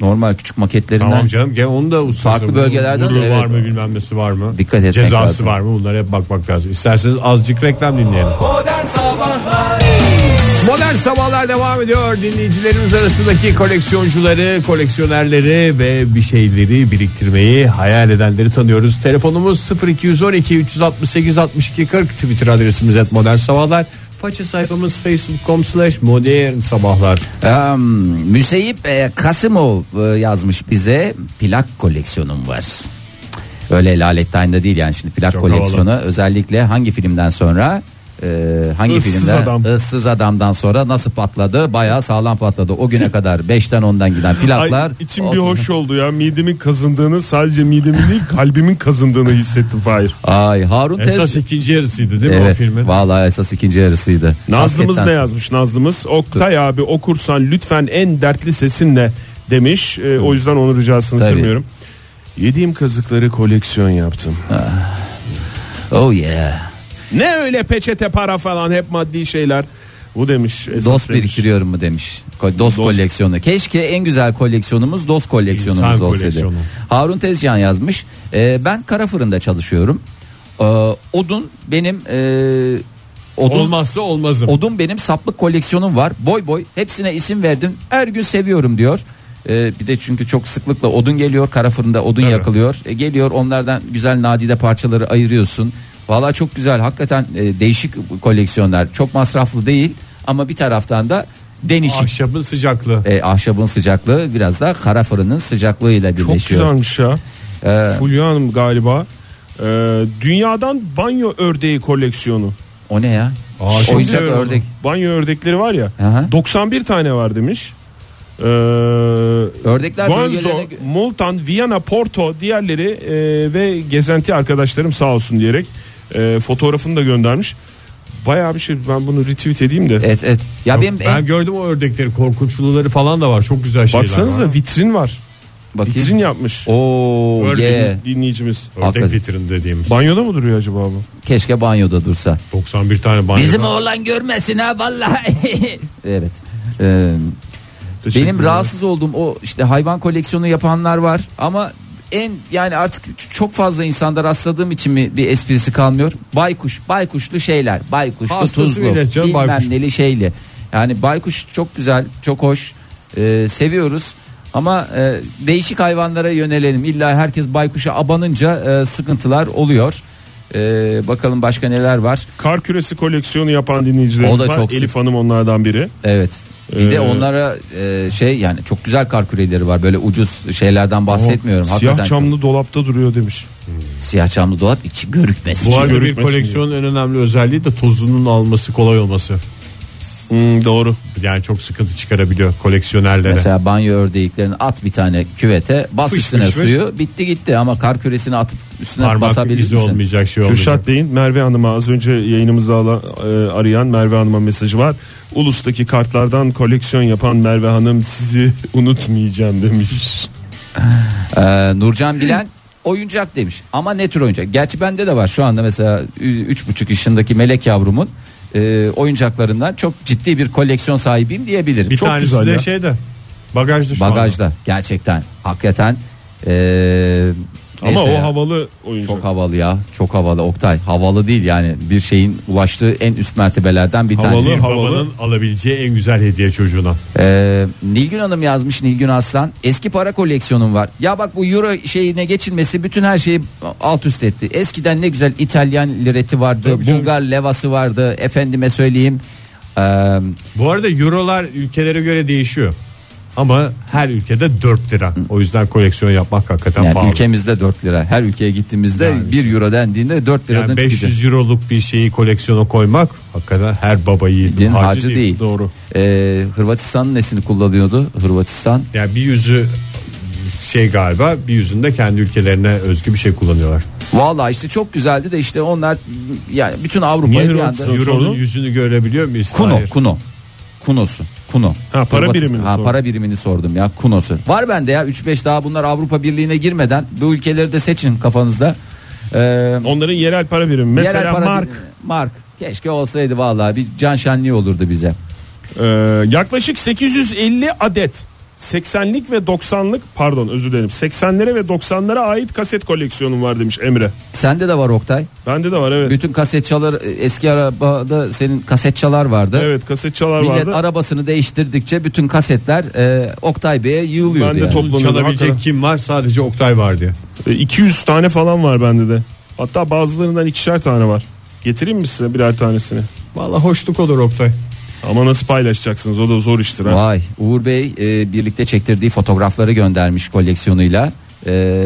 C: Normal küçük maketlerinden.
B: Tamam canım. Gel onu da ustası.
C: Farklı
B: Bunun
C: bölgelerden
B: gururu
C: de, evet.
B: var mı bilmem nesi var mı?
C: Dikkat etmek
B: Cezası
C: lazım.
B: var mı? Bunlara hep bakmak lazım. İsterseniz azıcık reklam dinleyelim. Modern Sabahlar devam ediyor. Dinleyicilerimiz arasındaki koleksiyoncuları, koleksiyonerleri ve bir şeyleri biriktirmeyi hayal edenleri tanıyoruz. Telefonumuz 0212 368 62 40 Twitter adresimiz et Modern Sabahlar. Faça sayfamız facebook.com slash modern sabahlar.
C: Em, Ehm, Müseyip e, Kasımov e, yazmış bize plak koleksiyonum var. Öyle lalettayında değil yani şimdi plak
B: Çok
C: koleksiyonu özellikle hangi filmden sonra e, hangi
D: Issız
C: filmden
D: Adam.
C: Issız Adam'dan sonra nasıl patladı bayağı sağlam patladı o güne kadar 5'ten 10'dan giden plaklar
D: Ay, içim bir hoş oldu ya midemin kazındığını sadece midemin değil kalbimin kazındığını hissettim Fahir.
C: Ay Harun Tez
B: Esas ikinci yarısıydı değil mi o
C: Evet,
B: filmin?
C: vallahi esas ikinci yarısıydı.
D: Nazlımız ne
C: Hakikaten-
D: yazmış Nazlımız? Oktay abi okursan lütfen en dertli sesinle demiş. Ee, o yüzden onun ricasını
C: Tabii.
D: kırmıyorum. Yediğim kazıkları koleksiyon yaptım.
C: Oh yeah.
D: Ne öyle peçete para falan hep maddi şeyler. Bu demiş. esas
C: Dost
D: demiş.
C: biriktiriyorum mu demiş. Ko- Dost, koleksiyonu. Keşke en güzel koleksiyonumuz dost koleksiyonumuz
B: İnsan
C: olsaydı.
B: koleksiyonu.
C: Harun Tezcan yazmış. Ee, ben kara fırında çalışıyorum. Ee, odun benim e, odun
B: Olmazsa olmazım.
C: Odun benim saplık koleksiyonum var. Boy boy hepsine isim verdim. Her gün seviyorum diyor. Ee, bir de çünkü çok sıklıkla odun geliyor. Kara fırında odun yakılıyor. E, geliyor onlardan güzel nadide parçaları ayırıyorsun. Valla çok güzel. Hakikaten e, değişik koleksiyonlar. Çok masraflı değil ama bir taraftan da denişik.
B: Ahşabın sıcaklığı.
C: E, ahşabın sıcaklığı biraz da kara fırının sıcaklığıyla
D: Çok
C: birleşiyor.
D: güzelmiş ya.
C: Ee,
D: Fulya Hanım galiba. Ee, dünyadan banyo ördeği koleksiyonu.
C: O ne ya?
B: Aa, şimdi
C: Oyuncak
D: Biliyorum.
C: ördek.
D: Banyo ördekleri var ya.
C: Aha.
D: 91 tane var demiş. Ee,
C: Ördekler
D: Guangzhou,
C: bölgelerine-
D: Multan, Viyana, Porto diğerleri e, ve gezenti arkadaşlarım sağ olsun diyerek e, fotoğrafını da göndermiş. Bayağı bir şey ben bunu retweet edeyim de.
C: Evet evet. Ya benim
B: ben gördüm o ördekleri korkunçluları falan da var. Çok güzel şeyler
D: Baksanıza
B: var.
D: vitrin var.
C: bakayım.
D: Vitrin yapmış.
C: Oo
D: Ördek
C: yeah.
D: dinleyicimiz.
B: Ördek
C: Hakikaten.
B: vitrin dediğimiz.
D: Banyoda mı duruyor acaba bu?
C: Keşke banyoda dursa.
B: 91 tane banyo.
C: Bizim
B: var.
C: oğlan görmesin ha vallahi. evet. Ee,
D: Teşekkür
C: benim
D: ederim.
C: rahatsız olduğum o işte hayvan koleksiyonu yapanlar var ama en yani artık ç- çok fazla insanda rastladığım için mi bir esprisi kalmıyor. Baykuş, baykuşlu şeyler, baykuşlu
B: Hastası
C: tuzlu,
B: millet canım,
C: bilmem
B: baykuş.
C: neli şeyli. Yani baykuş çok güzel, çok hoş, Ee, seviyoruz. Ama e, değişik hayvanlara yönelelim. İlla herkes baykuşa abanınca e, sıkıntılar oluyor. Ee, bakalım başka neler var.
D: Kar küresi koleksiyonu yapan dinleyicilerimiz
C: O da
D: var.
C: çok
D: Elif Hanım onlardan biri.
C: Evet. Bir de
D: Ee,
C: onlara e, şey yani çok güzel kar küreleri var. Böyle ucuz şeylerden bahsetmiyorum.
D: Siyah
C: Hakikaten
D: camlı dolapta duruyor demiş.
C: çok- siyah camlı dolap içi görükmesin.
B: Bu arada bir
D: görükmesin
B: koleksiyonun en önemli özelliği de tozunun alması kolay olması.
D: doğru.
B: Yani çok sıkıntı çıkarabiliyor koleksiyonerlere.
C: Mesela banyo ördeklerini at bir tane küvete, bas
B: Fış
C: üstüne
B: fış fış.
C: suyu. Bitti gitti ama kar küresini atıp üstüne
B: Parmak
C: basabilir
B: izi
C: misin?
B: olmayacak şey olmayacak.
D: Kürşat Bey'in Merve Hanım'a az önce yayınımızı ala- e, arayan Merve Hanım'a mesajı var. Ulus'taki kartlardan koleksiyon yapan Merve Hanım sizi unutmayacağım demiş.
C: Ee, Nurcan Bilen oyuncak demiş. Ama ne tür oyuncak? Gerçi bende de var şu anda mesela 3,5 yaşındaki melek yavrumun e, oyuncaklarından çok ciddi bir koleksiyon sahibiyim diyebilirim.
B: bir
D: Çok
B: tanesi
D: güzel
B: de
D: ya.
B: şeyde bagajda şu
C: Bagajda gerçekten hakikaten e,
D: Ama
C: Neyse
D: o
C: ya.
D: havalı oyuncak.
C: Çok havalı ya. Çok havalı Oktay. Havalı değil yani. Bir şeyin ulaştığı en üst mertebelerden bir tanesi.
D: Havalı.
B: Babanın alabileceği en güzel hediye çocuğuna.
C: Ee, Nilgün Hanım yazmış Nilgün Aslan. Eski para koleksiyonum var. Ya bak bu euro şeyine geçilmesi bütün her şeyi alt üst etti. Eskiden ne güzel İtalyan lireti vardı. Bulgar levası vardı. Efendime söyleyeyim. Ee,
B: Bu arada eurolar ülkelere göre değişiyor. Ama her ülkede 4 lira. O yüzden koleksiyon yapmak hakikaten
C: yani
B: pahalı.
C: ülkemizde 4 lira. Her ülkeye gittiğimizde 1 euro dendiğinde 4 liradan
B: yani 500
C: çıkacak.
B: euroluk bir şeyi koleksiyona koymak hakikaten her baba yiğidin
C: Din
B: harcı,
C: harcı
B: değil.
C: değil.
B: Doğru.
C: Ee, Hırvatistan'ın nesini kullanıyordu? Hırvatistan.
B: Yani bir yüzü şey galiba bir yüzünde kendi ülkelerine özgü bir şey kullanıyorlar.
C: Vallahi işte çok güzeldi de işte onlar yani bütün Avrupa'yı
D: Niye
C: bir anda
D: Hırvatistan? Nasıl
B: Euro'nun
D: oldu?
B: yüzünü görebiliyor muyuz?
C: Kuno,
B: Hayır.
C: Kuno. Kunosu. Kuno.
D: Ha, para
C: Hırvatistan-
D: birimini
C: ha,
D: sordum.
C: para birimini sordum ya. Kunosu. Var bende ya 3-5 daha bunlar Avrupa Birliği'ne girmeden bu ülkeleri de seçin kafanızda. Ee,
D: Onların yerel para birimi. Mesela
C: yerel para
D: mark.
C: birimi- mark. Keşke olsaydı vallahi bir can şenliği olurdu bize.
D: Ee, yaklaşık 850 adet 80'lik ve 90'lık pardon özür dilerim 80'lere ve 90'lara ait kaset koleksiyonum var demiş Emre.
C: Sende de var Oktay.
D: Bende de var evet.
C: Bütün kasetçalar eski arabada senin kasetçalar vardı.
D: Evet kasetçalar
C: Millet
D: vardı.
C: arabasını değiştirdikçe bütün kasetler e, Oktay Bey'e yığılıyordu.
D: Ben de
C: yani.
D: toplu-
B: Çalabilecek
D: Hakikaten.
B: kim var? Sadece Oktay var diye.
D: E, 200 tane falan var bende de. Hatta bazılarından ikişer tane var. Getireyim mi size birer tanesini?
B: Valla hoşluk olur Oktay.
D: Ama nasıl paylaşacaksınız o da zor iştir ha.
C: Vay Uğur Bey e, birlikte çektirdiği fotoğrafları göndermiş koleksiyonuyla. E,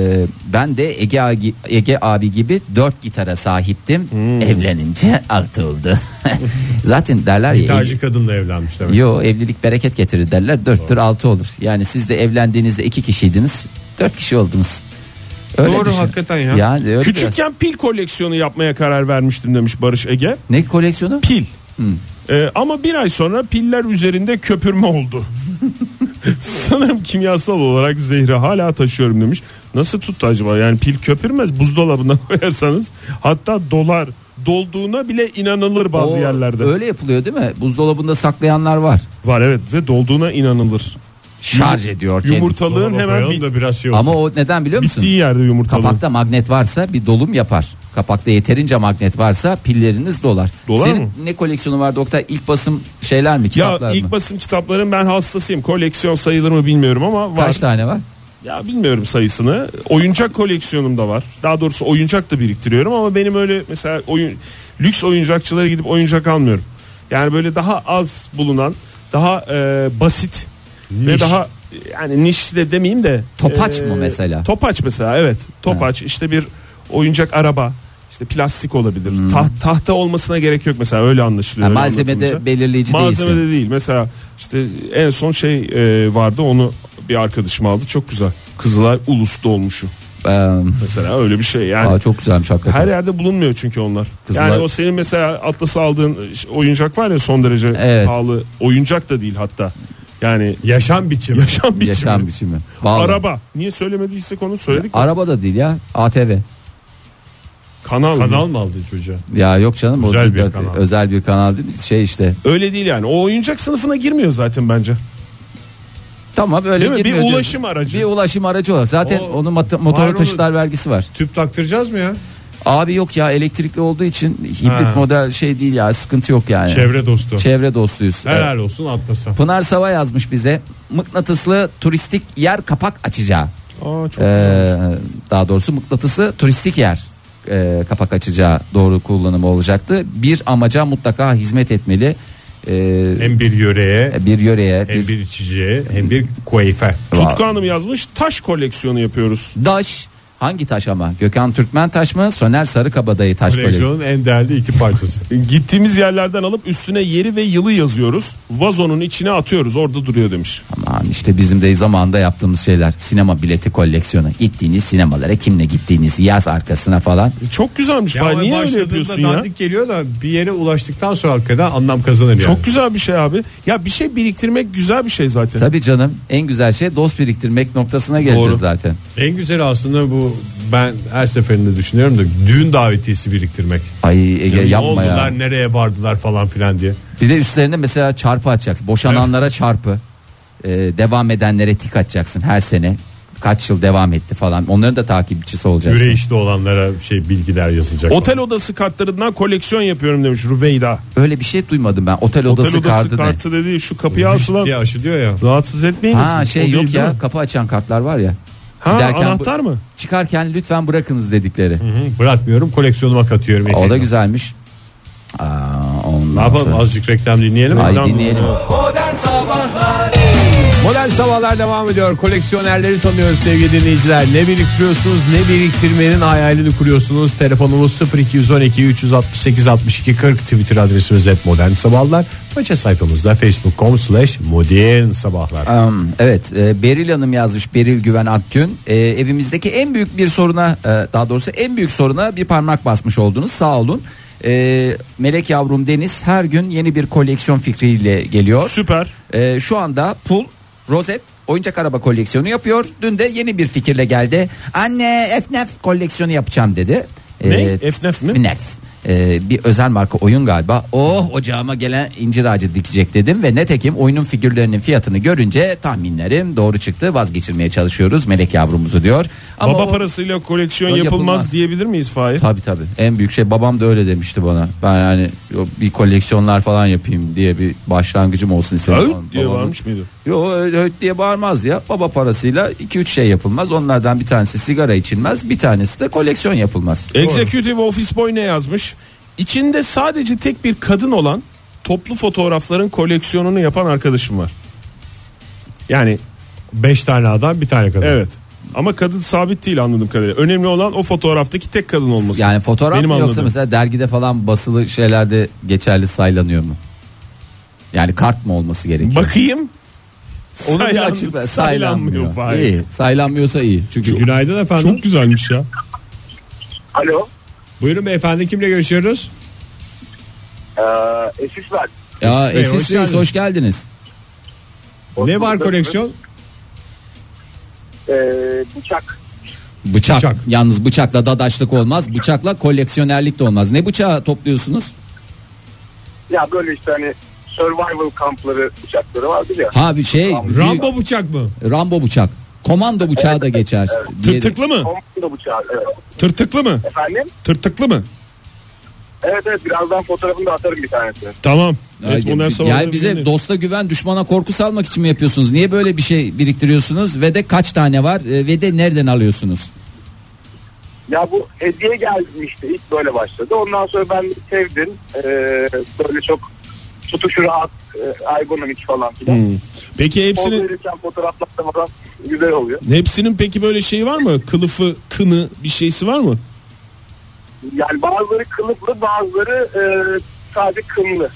C: ben de Ege, abi- Ege abi gibi dört gitara sahiptim.
D: Hmm.
C: Evlenince altı oldu. Zaten derler ya.
B: Gitarcı kadınla evlenmiş demek.
C: Yo evlilik bereket getirir derler. Dörttür altı olur. Yani siz de evlendiğinizde iki kişiydiniz. Dört kişi oldunuz.
B: Doğru,
C: düşün.
B: hakikaten ya.
C: Yani öyle biraz.
D: Küçükken pil koleksiyonu yapmaya karar vermiştim demiş Barış Ege.
C: Ne koleksiyonu?
D: Pil.
C: Hmm.
D: E, ama bir ay sonra piller üzerinde köpürme oldu. Sanırım kimyasal olarak zehri hala taşıyorum demiş. Nasıl tuttu acaba? Yani pil köpürmez buzdolabına koyarsanız hatta dolar dolduğuna bile inanılır bazı
C: O-
D: yerlerde.
C: Öyle yapılıyor değil mi? Buzdolabında saklayanlar var.
D: Var evet ve dolduğuna inanılır.
C: Şarj ediyor. kendini.
D: Yumurtalığın
B: Dolaba
D: hemen
B: koyalım
D: bit-
B: da biraz şey olsun.
C: Ama o neden biliyor musun?
D: bittiği yerde yumurtalığın.
C: Kapakta magnet varsa bir dolum yapar. Kapakta yeterince magnet varsa pilleriniz dolar.
D: Dolar
C: Senin
D: mı?
C: ne koleksiyonu vardı Oktay? İlk basım şeyler mi?
D: Ya
C: Kitaplar
D: ilk
C: mı?
D: basım kitapların ben hastasıyım. Koleksiyon sayılır mı bilmiyorum ama var.
C: Kaç tane var?
D: Ya bilmiyorum sayısını. Oyuncak koleksiyonum da var. Daha doğrusu oyuncak da biriktiriyorum ama benim öyle mesela oyun lüks oyuncakçılara gidip oyuncak almıyorum. Yani böyle daha az bulunan, daha e, basit ve
B: Niş.
D: daha e, yani niş de demeyeyim de e,
C: Topaç mı mesela?
D: Topaç mesela evet. Topaç işte bir oyuncak araba işte plastik olabilir.
C: Hmm.
D: Taht- tahta olmasına gerek yok mesela öyle anlaşılıyor.
C: Ha,
D: öyle
C: malzemede
D: anlatılınca.
C: belirleyici
D: Malzemede
C: değilsin.
D: değil. Mesela işte en son şey e, vardı onu bir arkadaşım aldı. Çok güzel. Kızılay Ulus dolmuşu.
C: Ee,
D: Mesela öyle bir şey yani.
C: aa, çok güzelmiş hakikaten.
D: her yerde bulunmuyor çünkü onlar.
C: Kızılay-
D: Yani o senin mesela Atlas'a aldığın oyuncak var ya son derece
C: Evet.
D: pahalı. Oyuncak da değil hatta. Yani
B: Yaşam biçimi.
D: yaşam biçimi.
C: Yaşam biçimi. Vallahi.
D: Araba. Niye söylemediysek onu söyledik. mi?
C: Araba da değil ya. ATV.
D: kanal. mı?
B: Kanal mı aldın çocuğa?
C: Ya yok canım. o
B: Özel
C: değil,
B: bir kanal.
C: Özel bir kanal değil. mi? Şey işte.
D: Öyle değil yani. O oyuncak sınıfına girmiyor zaten bence.
C: Tamam öyle
D: Değil mi? Bir
C: girmiyor diyorsun.
D: ulaşım aracı.
C: Bir ulaşım aracı olarak. Zaten
B: O-
C: onun mat-
B: Var
C: motorlu
B: onu-
C: taşıtlar vergisi var.
B: Tüp taktıracağız mı ya?
C: Abi yok ya elektrikli olduğu için hibrit
B: Ha.
C: model şey değil ya sıkıntı yok yani.
B: Çevre dostu.
C: Çevre dostuyuz.
B: Helal olsun atlasa.
C: Pınar Sava yazmış bize mıknatıslı turistik yer kapak açacağı.
D: Aa, çok
C: Ee, daha doğrusu mıknatıslı turistik yer e, kapak açacağı doğru kullanımı olacaktı. Bir amaca mutlaka hizmet etmeli. Ee,
B: Hem bir yöreye,
C: bir yöreye,
B: hem
C: bir
B: E, bir içiciye, hem bir kueyfe.
D: Tutku Hanım yazmış taş koleksiyonu yapıyoruz.
C: taş. Hangi taş ama? Gökhan Türkmen taş mı? Soner Sarıkabadayı taş böyle.
B: Koleksiyonun en değerli iki parçası.
D: Gittiğimiz yerlerden alıp üstüne yeri ve yılı yazıyoruz. Vazonun içine atıyoruz. Orada duruyor demiş.
C: Aman işte bizim de zamanında yaptığımız şeyler. Sinema bileti koleksiyonu. Gittiğiniz sinemalara kimle gittiğinizi yaz arkasına falan.
D: E, Çok güzelmiş.
B: Ya
D: Fahir,
B: ama
D: niye öyle
B: başladığında
D: yapıyorsun ya?
B: dandik geliyor da bir yere ulaştıktan sonra hakikaten anlam kazanır
D: Çok
B: yani.
D: güzel bir şey abi. Ya bir şey biriktirmek güzel bir şey zaten.
C: Tabii canım en güzel şey dost biriktirmek noktasına geleceğiz
D: Doğru.
C: zaten.
B: En güzeli aslında bu ben her seferinde düşünüyorum da düğün davetiyesi biriktirmek.
C: Ay Ege
B: ne
C: yapma
B: oldular,
C: ya.
B: nereye vardılar falan filan diye.
C: Bir de üstlerine mesela çarpı atacaksın. Boşananlara çarpı. Ee, devam edenlere tik atacaksın her sene. kaç yıl devam etti falan. Onların da takipçisi olacaksın.
B: Yürüyüşte olanlara şey bilgiler yazılacak.
D: Otel odası kartlarından koleksiyon yapıyorum demiş Rüveyda.
C: Öyle bir şey duymadım ben. Otel
D: Otel
C: odası,
D: odası
C: kartı ne?
D: kartı dediği şu kapıya
B: Vücut
D: asılan
B: diye aşılıyor ya.
D: rahatsız etmeyiniz.
C: Ha
D: mi? O
C: şey
D: değil,
C: yok
D: değil
C: ya
D: mi?
C: kapı açan kartlar var ya.
D: Ha,
C: Giderken bu-
D: anahtar mı?
C: Çıkarken lütfen bırakınız dedikleri.
B: Hı, Bırakmıyorum koleksiyonuma katıyorum.
C: O da
B: efendim.
C: güzelmiş. Aa, ondan
B: Ne yapalım
C: sonra-
B: azıcık reklam dinleyelim mi?
C: Ay,
D: Reklam-
C: dinleyelim.
B: Modern Sabahlar devam ediyor. Koleksiyonerleri tanıyoruz sevgili dinleyiciler. Ne biriktiriyorsunuz ne biriktirmenin hayalini kuruyorsunuz. Telefonumuz 0212 368 62 40 Twitter adresimiz et modern sabahlar. Faça sayfamızda facebook.com slash modern sabahlar.
C: Am, evet e, Beril Hanım yazmış Beril Güven Akgün E, evimizdeki en büyük bir soruna e, daha doğrusu en büyük soruna bir parmak basmış oldunuz sağ olun. E, Melek yavrum Deniz her gün yeni bir koleksiyon fikriyle geliyor.
D: Süper.
C: Ee, şu anda pul, rozet, oyuncak araba koleksiyonu yapıyor. Dün de yeni bir fikirle geldi. Anne FNAF koleksiyonu yapacağım dedi.
D: Ne? FNAF mi?
C: FNAF. Ee, bir özel marka oyun galiba. Oh ocağıma gelen incir ağacı dikecek dedim ve netekim oyunun figürlerinin fiyatını görünce tahminlerim doğru çıktı. Vazgeçirmeye çalışıyoruz melek yavrumuzu diyor. Ama
D: Baba
C: o-
D: parasıyla koleksiyon
C: O
D: yapılmaz,
C: yapılmaz.
D: diyebilir miyiz Fahir?
C: Tabii tabii. En büyük şey babam da öyle demişti bana. Ben yani bir koleksiyonlar falan yapayım diye bir başlangıcım olsun istedim.
D: Öyle
C: Babamın-
D: diye varmış mıydı?
C: Yo öyle öyle diye bağırmaz ya. Baba parasıyla 2-3 şey yapılmaz. Onlardan bir tanesi sigara içilmez. Bir tanesi de koleksiyon yapılmaz.
D: Executive Office Boy ne yazmış? İçinde sadece tek bir kadın olan toplu fotoğrafların koleksiyonunu yapan arkadaşım var. Yani
B: 5 tane adam bir tane kadın.
D: evet. Ama kadın sabit değil anladığım kadarıyla. Önemli olan o fotoğraftaki tek kadın olması.
C: Yani fotoğraf
D: Benim
C: mı yoksa
D: anladığım.
C: mesela dergide falan basılı şeylerde geçerli saylanıyor mu? Yani kart mı olması gerekiyor?
D: Bakayım.
C: Onu bir
D: Saylan-
C: açıkla.
D: saylanmıyor
C: Saylanmıyor.
D: Fahir.
C: İyi. Saylanmıyorsa iyi. Çünkü
B: Günaydın efendim.
D: Çok güzelmiş ya.
A: Alo.
B: Buyurun beyefendi kimle görüşüyoruz?
A: Ee, Esis ben.
C: ya
B: Esis Bey, hoş
C: Esis Reis
B: geldiniz.
C: hoş geldiniz.
B: ne var koleksiyon?
A: Ee, bıçak.
C: Bıçak.
B: Bıçak.
C: Yalnız bıçakla dadaşlık olmaz. Bıçakla koleksiyonerlik de olmaz. Ne bıçağı topluyorsunuz?
A: Ya böyle işte hani survival kampları bıçakları vardır ya.
C: Ha bir şey.
B: Rambo bıçak mı?
C: Rambo bıçak. Komando bıçağı da geçer. diye-
D: Tırtıklı mı?
A: Komando bıçağı. Evet.
D: Tırtıklı mı?
A: Efendim?
D: Tırtıklı mı?
A: Evet evet birazdan fotoğrafını da atarım bir tanesini.
D: Tamam. Evet,
C: Yani,
D: Modern Sabahlar'ın
C: yani bize
D: birini-
C: dosta güven düşmana korku salmak için mi yapıyorsunuz? Niye böyle bir şey biriktiriyorsunuz? Ve de kaç tane var? E, Ve de nereden alıyorsunuz?
A: Ya bu hediye gelmişti ilk böyle başladı. Ondan sonra ben sevdim. Ee, böyle çok tutuşu rahat, e, ergonomik falan filan.
D: Hmm.
B: Hmm.
C: Hmm.
D: Peki
A: Orada
D: hepsinin
A: verirken fotoğraflarda falan güzel oluyor.
D: hepsinin peki böyle şeyi var mı? Kılıfı, kını bir şeysi var mı?
A: Yani bazıları kılıflı bazıları e, sadece kınlı.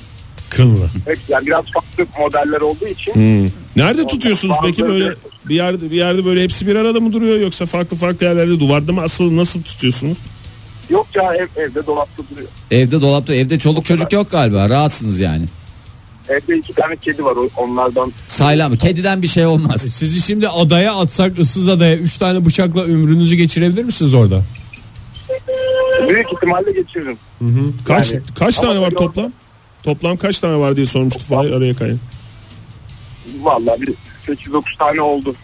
B: Kınlı.
A: Evet, yani biraz farklı modeller olduğu için.
D: Hmm. Nerede tutuyorsunuz peki böyle bir yerde bir yerde böyle hepsi bir arada mı duruyor yoksa farklı farklı yerlerde duvarda mı asıl nasıl tutuyorsunuz?
A: Yok ya ev, evde dolapta duruyor.
C: Evde dolapta evde çoluk çocuk yok galiba. Rahatsınız yani.
A: Evde iki tane kedi var o- onlardan.
C: Saylam kediden bir şey olmaz.
B: Sizi şimdi adaya atsak ıssız adaya 3 tane bıçakla ömrünüzü geçirebilir misiniz orada?
A: Büyük ihtimalle geçiririm.
D: Kaç
A: Yani-
D: kaç
A: Ama
D: tane var
A: böyle-
D: toplam? Toplam kaç tane var diye sormuştu Fahir araya kayın.
A: Vallahi bir 8-9 tane oldu.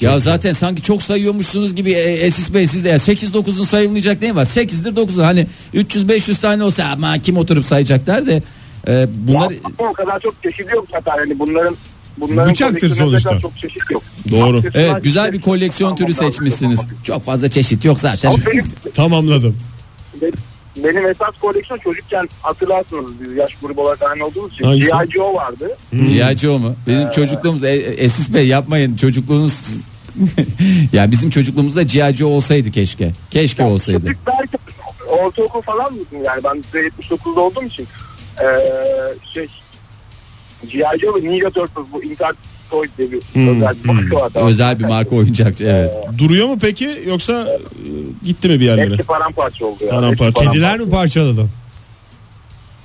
C: Ya zaten sanki çok sayıyormuşsunuz gibi e, Esis Bey siz de 8-9'un sayılmayacak ne var? 8'dir 9'dur hani 300-500 tane olsa ama kim oturup sayacak der de. e, bunlar
A: Ama o kadar çok çeşit yok zaten. Yani bunların bunların
B: Bıçaktır
A: koleksiyonunda
B: sonuçta.
A: kadar Çok çeşit yok.
D: Doğru.
A: Aksesuar
C: evet güzel
A: işte-
C: bir koleksiyon türü
A: Tamam,
C: seçmişsiniz.
A: tamam.
C: Çok fazla çeşit yok zaten.
A: Ama benim,
B: Tamamladım.
A: benim esas koleksiyon çocukken hatırlarsınız biz yaş grubu olarak aynı olduğumuz için.
D: Hangisi?
A: G.I. Joe vardı.
D: Hmm.
C: G.I. mu?
D: Ee,
C: Bizim çocukluğumuz e, e, Esis Bey yapmayın çocukluğunuz ya bizim çocukluğumuzda G.I. Joe olsaydı keşke. Keşke olsaydı.
A: Küçük belki ortaokul falan mıydım yani ben size 79'da olduğum için ee, şey G.I. Joe ve Ninja Turtles bu Inter Toy diye bir özel bir marka var. tamam.
C: Hmm, Özel bir marka oyuncakçı evet.
D: Duruyor mu peki yoksa e, gitti mi bir yerlere?
A: Hepsi paramparça oldu ya.
D: Paramparça.
A: Hepsi
B: Kediler mi parçaladı?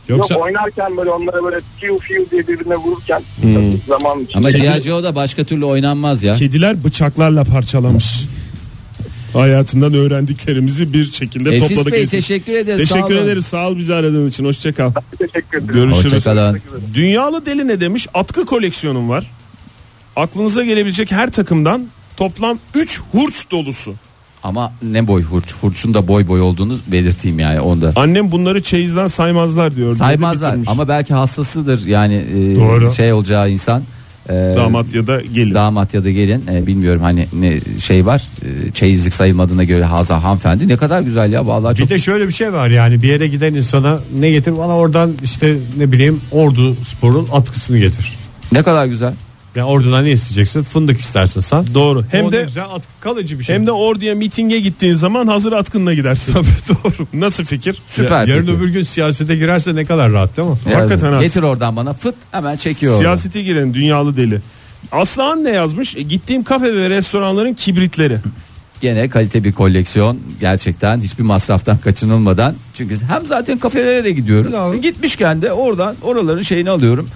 B: Yoksa
A: Yok oynarken böyle onlara böyle fiu fiu diye birbirine vururken tabii zaman içinde.
C: Hmm. Ama G.I. Joe da başka türlü oynanmaz ya.
D: Kediler bıçaklarla parçalamış. Hayatından öğrendiklerimizi bir şekilde
C: Esis
D: topladık.
C: Bey
D: Esis.
C: teşekkür ederiz. sağ
D: Teşekkür
C: olun.
D: ederiz. Sağ ol bizi aradığın için. Hoşça kal.
A: Teşekkür ederim.
D: Görüşürüz.
C: Hoşçakalın.
D: Dünyalı deli ne demiş? Atkı koleksiyonum var. Aklınıza gelebilecek her takımdan toplam 3 hurç dolusu.
C: Ama ne boy hurç. Hurçun da boy boy olduğunu belirteyim yani onda.
D: Annem bunları çeyizden saymazlar diyor.
C: Saymazlar
D: Bitirmiş.
C: ama belki hassasıdır yani e,
B: Doğru.
C: şey olacağı insan. e,
D: damat ya da gelin.
C: Damat ya da gelin e, bilmiyorum hani ne şey var e, çeyizlik sayılmadığına göre Haza hanımefendi ne kadar güzel ya vallahi çok
B: Bir de şöyle bir şey var yani bir yere giden insana ne getir bana oradan işte ne bileyim ordu sporun atkısını getir.
C: ne kadar güzel.
B: Ya ordudan ne isteyeceksin? Fındık istersin sen.
D: Doğru. Hem
B: O ne
D: de
B: güzel atkı kalıcı bir şey.
D: hem de orduya mitinge gittiğin zaman hazır atkınla gidersin. Tabii doğru. Nasıl fikir?
C: Süper.
B: Yarın
C: fikir.
B: öbür gün siyasete girerse ne kadar rahat değil mi?
C: Ya,
D: Hakikaten
C: getir oradan bana fıt hemen çekiyor. oradan.
D: Siyasete giren dünyalı deli. Aslıhan ne yazmış? E, gittiğim kafe ve restoranların kibritleri.
C: Gene kalite bir koleksiyon gerçekten hiçbir masraftan kaçınılmadan. Çünkü hem zaten kafelere de gidiyorum.
B: Bravo.
C: E, Gitmişken de oradan oraların şeyini alıyorum.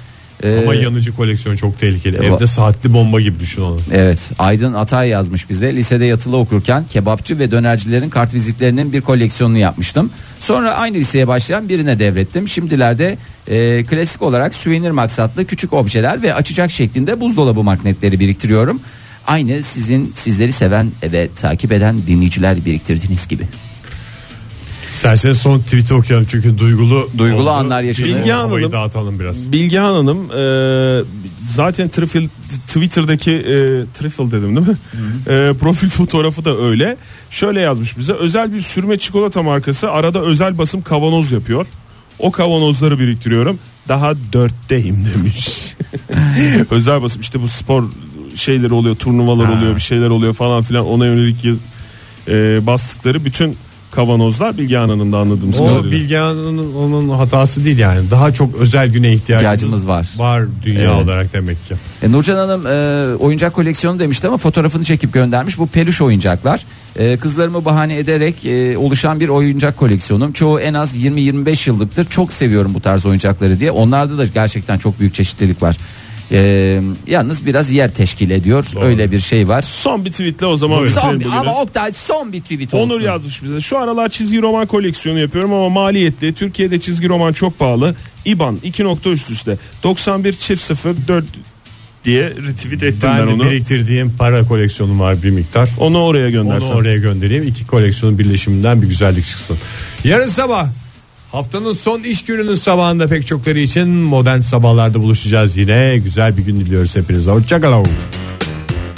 C: Ee,
B: Ama yanıcı koleksiyon çok tehlikeli.
C: Ya,
B: Evde saatli bomba gibi düşün onu.
C: Evet Aydın Atay yazmış bize lisede yatılı okurken kebapçı ve dönercilerin kartvizitlerinin bir koleksiyonunu yapmıştım. Sonra aynı liseye başlayan birine devrettim. Şimdilerde e, klasik olarak süvenir maksatlı küçük objeler ve açacak şeklinde buzdolabı magnetleri biriktiriyorum. Aynı sizin sizleri seven ve takip eden dinleyiciler biriktirdiğiniz gibi.
B: İsterseniz son tweet'i okuyalım çünkü duygulu
C: Duygulu
B: oldu.
C: anlar yaşanıyor.
B: Bilgi
D: Havayı
B: Havayı dağıtalım biraz.
D: Bilgehan Hanım e, zaten Trifil, Twitter'daki e, Trifil dedim değil mi? E, profil fotoğrafı da öyle. Şöyle yazmış bize özel bir sürme çikolata markası arada özel basım kavanoz yapıyor. O kavanozları biriktiriyorum. Daha dörtteyim demiş. özel basım işte bu spor şeyleri oluyor turnuvalar oluyor bir şeyler oluyor falan filan ona yönelik yıl- e, bastıkları bütün kavanozlar Bilgehan Hanım'da anladığımız
B: O
D: kadarıyla.
B: Bilge Hanım'ın onun hatası değil yani. Daha çok özel güne ihtiyacımız
C: İhtiyacımız var.
B: Var dünya
C: Evet.
B: olarak demek ki.
C: E, Nurcan Hanım e, oyuncak koleksiyonu demişti ama fotoğrafını çekip göndermiş. Bu peluş oyuncaklar. E, kızlarımı bahane ederek e, oluşan bir oyuncak koleksiyonum. Çoğu en az 20-25 yıllıktır. Çok seviyorum bu tarz oyuncakları diye. Onlarda da gerçekten çok büyük çeşitlilik var. E, yalnız biraz yer teşkil ediyor. Öyle bir şey var.
D: Son bir tweetle o zaman bitirelim
C: Son bir,
D: bugünü.
C: ama Oktay son bir tweet olsun.
D: Onur yazmış bize. Şu aralar çizgi roman koleksiyonu yapıyorum ama maliyetli. Türkiye'de çizgi roman çok pahalı. İban 2 nokta üst üste. 91 çift 0 4 diye retweet ettim ben,
B: Ben de
D: onu.
B: biriktirdiğim para koleksiyonum var bir miktar.
D: Onu oraya
B: Onu
D: göndersen.
B: oraya göndereyim. İki koleksiyonun birleşiminden bir güzellik çıksın. Yarın sabah haftanın son iş gününün sabahında pek çokları için modern sabahlarda buluşacağız yine. Güzel bir gün diliyoruz hepinize. Hoşçakalın.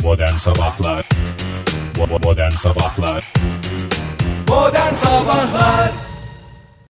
G: Modern Sabahlar Bo- bo- Modern Sabahlar
H: Modern Sabahlar